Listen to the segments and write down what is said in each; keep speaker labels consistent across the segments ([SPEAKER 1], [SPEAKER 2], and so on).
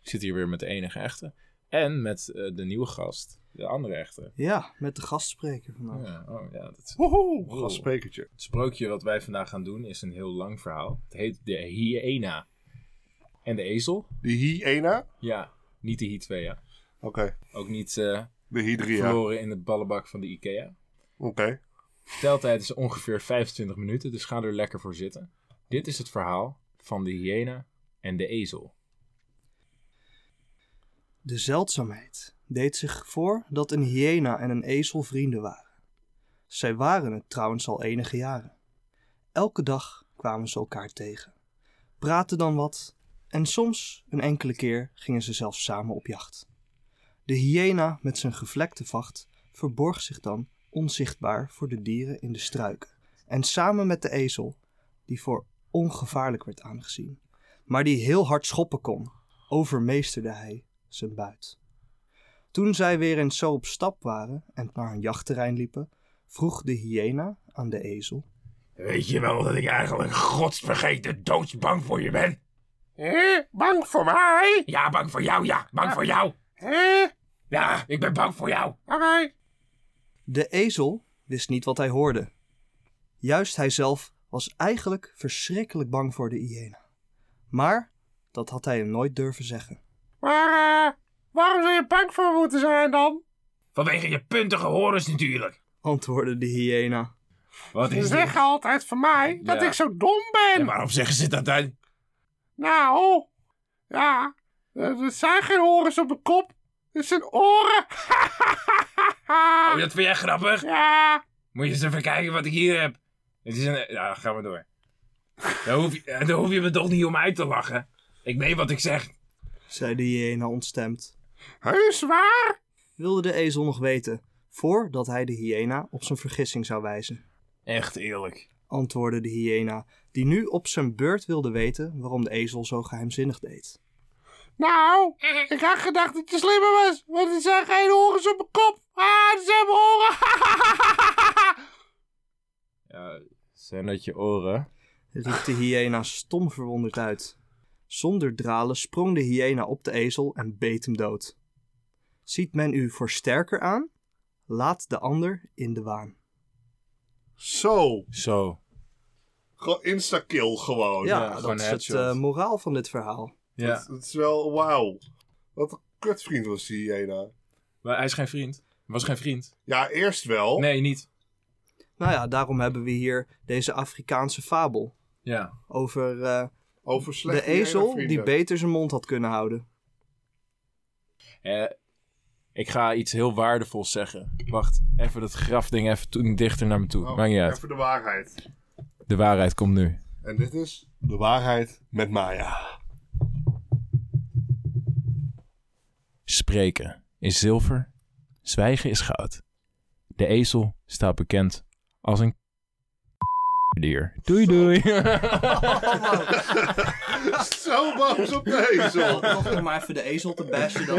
[SPEAKER 1] zit hier weer met de enige echte. En met eh, de nieuwe gast, de andere echte.
[SPEAKER 2] Ja, met de gastspreker vandaag.
[SPEAKER 1] Ja, oh, ja, dat is...
[SPEAKER 3] Woehoe,
[SPEAKER 1] Wow.
[SPEAKER 3] gastsprekertje.
[SPEAKER 1] Het sprookje wat wij vandaag gaan doen is een heel lang verhaal. Het heet de hyena en de ezel.
[SPEAKER 3] De hyena.
[SPEAKER 1] Ja, niet de hyena.
[SPEAKER 3] Oké.
[SPEAKER 1] Ook niet eh,
[SPEAKER 3] De hydria. Oké.
[SPEAKER 1] verloren in het ballenbak van de Ikea. Verteltijd is ongeveer 25 minuten, dus ga er lekker voor zitten. Dit is het verhaal van de hyena en de ezel.
[SPEAKER 2] De zeldzaamheid deed zich voor dat een hyena en een ezel vrienden waren. Zij waren het trouwens al enige jaren. Elke dag kwamen ze elkaar tegen, praten dan wat en soms een enkele keer gingen ze zelfs samen op jacht. De hyena met zijn gevlekte vacht verborg zich dan onzichtbaar voor de dieren in de struiken en samen met de ezel, die voor ongevaarlijk werd aangezien, maar die heel hard schoppen kon, overmeesterde hij zijn buit. Toen zij weer eens zo op stap waren en naar hun jachtterrein liepen, vroeg de hyena aan de ezel.
[SPEAKER 4] Weet je wel dat ik eigenlijk godsvergeten doodsbang voor je ben?
[SPEAKER 3] Hé, bang voor mij?
[SPEAKER 4] Ja, bang voor jou, ja, bang voor jou.
[SPEAKER 3] Hé, oké.
[SPEAKER 4] Ja, ik ben bang voor jou.
[SPEAKER 2] De ezel wist niet wat hij hoorde. Juist hij zelf was eigenlijk verschrikkelijk bang voor de hyena. Maar dat had hij hem nooit durven zeggen.
[SPEAKER 3] Maar eh, waarom zou je bang voor moeten zijn dan?
[SPEAKER 4] Vanwege je puntige horens natuurlijk.
[SPEAKER 2] Antwoordde de hyena.
[SPEAKER 1] Wat
[SPEAKER 3] Ze
[SPEAKER 1] is dit?
[SPEAKER 3] zeggen altijd van mij dat
[SPEAKER 1] Ja.
[SPEAKER 3] ik zo dom ben.
[SPEAKER 4] En waarom zeggen ze dat dan?
[SPEAKER 3] Nou, ja, eh, er zijn geen horens op mijn kop. Het zijn oren.
[SPEAKER 4] Oh, dat vind jij grappig?
[SPEAKER 3] ja,
[SPEAKER 4] Moet je eens even kijken wat ik hier heb. Het is een... Ja, ga maar door. Dan hoef, je, eh, dan hoef je me toch niet om uit te lachen. Ik meen wat ik zeg.
[SPEAKER 2] zei de hyena ontstemd.
[SPEAKER 3] heus waar.
[SPEAKER 2] Wilde de ezel nog weten, voordat hij de hyena op zijn vergissing zou wijzen.
[SPEAKER 1] Echt eerlijk.
[SPEAKER 2] antwoordde de hyena, die nu op zijn beurt wilde weten waarom de ezel zo geheimzinnig deed.
[SPEAKER 3] Nou, ik had gedacht dat je slimmer was, want er zijn geen horens op mijn kop. Ah, er zijn mijn oren.
[SPEAKER 1] Ja, zijn dat je oren?
[SPEAKER 2] riep de hyena stom verwonderd uit. Zonder dralen sprong de hyena op de ezel en beet hem dood. Ziet men u voor sterker aan? Laat de ander in de waan.
[SPEAKER 3] Zo,
[SPEAKER 1] Zo.
[SPEAKER 3] gewoon instakill gewoon.
[SPEAKER 2] Ja,
[SPEAKER 1] Oh, ja, gewoon
[SPEAKER 2] dat is het
[SPEAKER 1] headshot.
[SPEAKER 2] eh, moraal van dit verhaal.
[SPEAKER 1] Ja,
[SPEAKER 3] Dat is wel wauw. Wat een kutvriend was die hyena.
[SPEAKER 1] maar hij is geen vriend. Was geen vriend.
[SPEAKER 3] Ja, eerst wel.
[SPEAKER 1] Nee, niet.
[SPEAKER 2] Nou ja, daarom hebben we hier deze Afrikaanse fabel
[SPEAKER 1] Ja.
[SPEAKER 2] over eh,
[SPEAKER 3] Over
[SPEAKER 2] de
[SPEAKER 3] slechte
[SPEAKER 2] ezel die
[SPEAKER 3] hyena-vrienden.
[SPEAKER 2] beter zijn mond had kunnen houden.
[SPEAKER 1] Eh, ik ga iets heel waardevols zeggen. Wacht, even dat grafding even toen dichter naar me toe.
[SPEAKER 3] Oh,
[SPEAKER 1] Maakt niet uit.
[SPEAKER 3] Even de waarheid.
[SPEAKER 1] De waarheid komt nu.
[SPEAKER 3] En dit is de waarheid met Maya.
[SPEAKER 1] Spreken is zilver, zwijgen is goud. De ezel staat bekend als een dier. Doei doei.
[SPEAKER 3] Zo boos op de ezel.
[SPEAKER 2] nog maar even de ezel te bashen dan.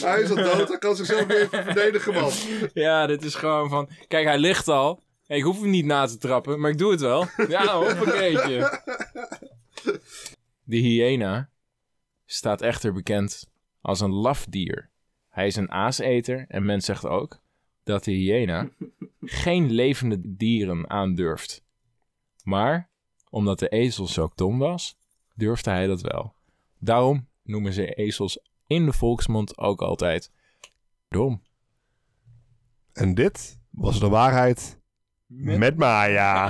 [SPEAKER 3] Hij is al dood, hij kan zichzelf weer even verdedigen, man.
[SPEAKER 1] ja, dit is gewoon van... Kijk, hij ligt al. Ik hoef hem niet na te trappen, maar ik doe het wel. Ja, hoppakeetje. De hyena staat echter bekend als een laf dier. Hij is een aaseter en men zegt ook dat de hyena geen levende dieren aandurft. Maar, omdat de ezel zo dom was, durfde hij dat wel. Daarom noemen ze ezels in de volksmond ook altijd dom.
[SPEAKER 3] En dit was de waarheid met, Maya.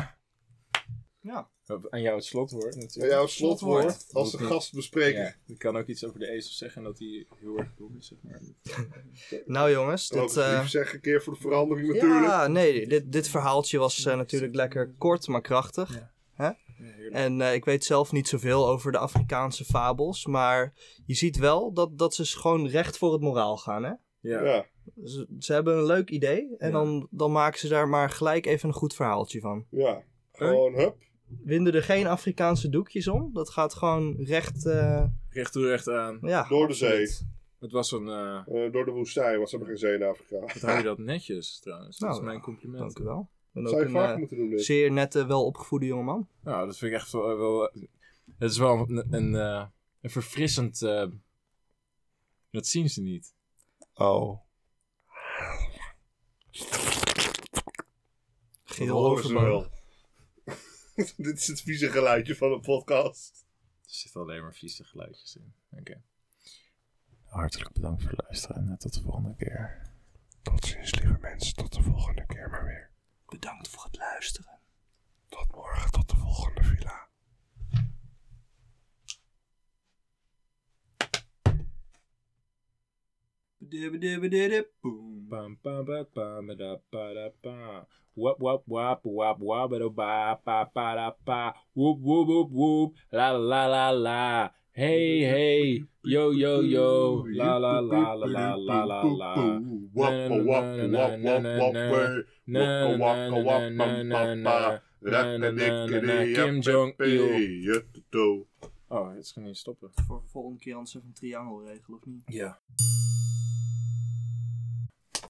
[SPEAKER 2] Ja.
[SPEAKER 1] Aan jou het slotwoord natuurlijk.
[SPEAKER 3] Jouw slotwoord als de gast bespreken.
[SPEAKER 1] Ja, ik kan ook iets over de ezel zeggen dat hij heel erg dom is, zeg maar.
[SPEAKER 2] Nou jongens,
[SPEAKER 3] Dat
[SPEAKER 1] Oh,
[SPEAKER 2] dit... eh,
[SPEAKER 3] zeg een keer voor de verandering natuurlijk.
[SPEAKER 2] ja, nee, dit, dit verhaaltje was eh, natuurlijk lekker kort, maar krachtig. Hè? En eh, ik weet zelf niet zoveel over de Afrikaanse fabels, maar je ziet wel dat, dat ze gewoon recht voor het moraal gaan. Hè?
[SPEAKER 1] Ja.
[SPEAKER 3] Ja.
[SPEAKER 2] Ze, ze hebben een leuk idee en
[SPEAKER 1] Ja.
[SPEAKER 2] dan, dan maken ze daar maar gelijk even een goed verhaaltje van.
[SPEAKER 3] Ja, gewoon hup.
[SPEAKER 2] Winden er geen Afrikaanse doekjes om, dat gaat gewoon recht... eh,
[SPEAKER 1] Recht toe, recht aan.
[SPEAKER 2] ja,
[SPEAKER 3] Door de zee.
[SPEAKER 2] absoluut.
[SPEAKER 1] Het was een... eh
[SPEAKER 3] Eh, door de woestijn, want ze hebben geen zee in Afrika.
[SPEAKER 1] wat hou je dat netjes, trouwens. Dat
[SPEAKER 2] Nou,
[SPEAKER 1] is mijn
[SPEAKER 2] Dank
[SPEAKER 1] compliment.
[SPEAKER 2] u wel. Ik ben
[SPEAKER 3] Zou
[SPEAKER 2] ook
[SPEAKER 3] je
[SPEAKER 2] een
[SPEAKER 3] vaak
[SPEAKER 2] eh,
[SPEAKER 3] moeten doen dit.
[SPEAKER 2] zeer nette, welopgevoede jongeman.
[SPEAKER 1] Nou, dat vind ik echt wel... wel- het is wel een, een, eh, Een verfrissend... eh, dat zien ze niet.
[SPEAKER 3] Oh.
[SPEAKER 2] Geel
[SPEAKER 3] Dat horen ze
[SPEAKER 2] overbouw.
[SPEAKER 3] wel. Dit is het vieze geluidje van een podcast.
[SPEAKER 1] Er zitten alleen maar vieze geluidjes in. Oké. Hartelijk bedankt voor het luisteren en tot de volgende keer.
[SPEAKER 3] Tot ziens, lieve mensen. Tot de volgende keer maar weer.
[SPEAKER 2] Bedankt voor het luisteren.
[SPEAKER 3] Tot morgen, tot de volgende villa.
[SPEAKER 2] Boom.
[SPEAKER 1] Bam, bam, ba, bam, ba, da, ba, da, ba. Wap, wap, wap, wap, wap, ba, da, ba, ba, ba, da, ba. Woep, woep, woep, woep. La, la, la, la. Hey, hey. Yo, yo, yo. La, la, la, la, la, la, la, la.
[SPEAKER 3] Wappa, wappa, wappa, wappa.
[SPEAKER 1] Na, na, na, na, na, na, na. Na, na, na, na, na. Kim Jong-il.
[SPEAKER 3] Jong-il.
[SPEAKER 1] Oh, dit is gewoon niet stoppen.
[SPEAKER 2] Voor de volgende keer anders even een triangel regelen, of niet?
[SPEAKER 1] Ja.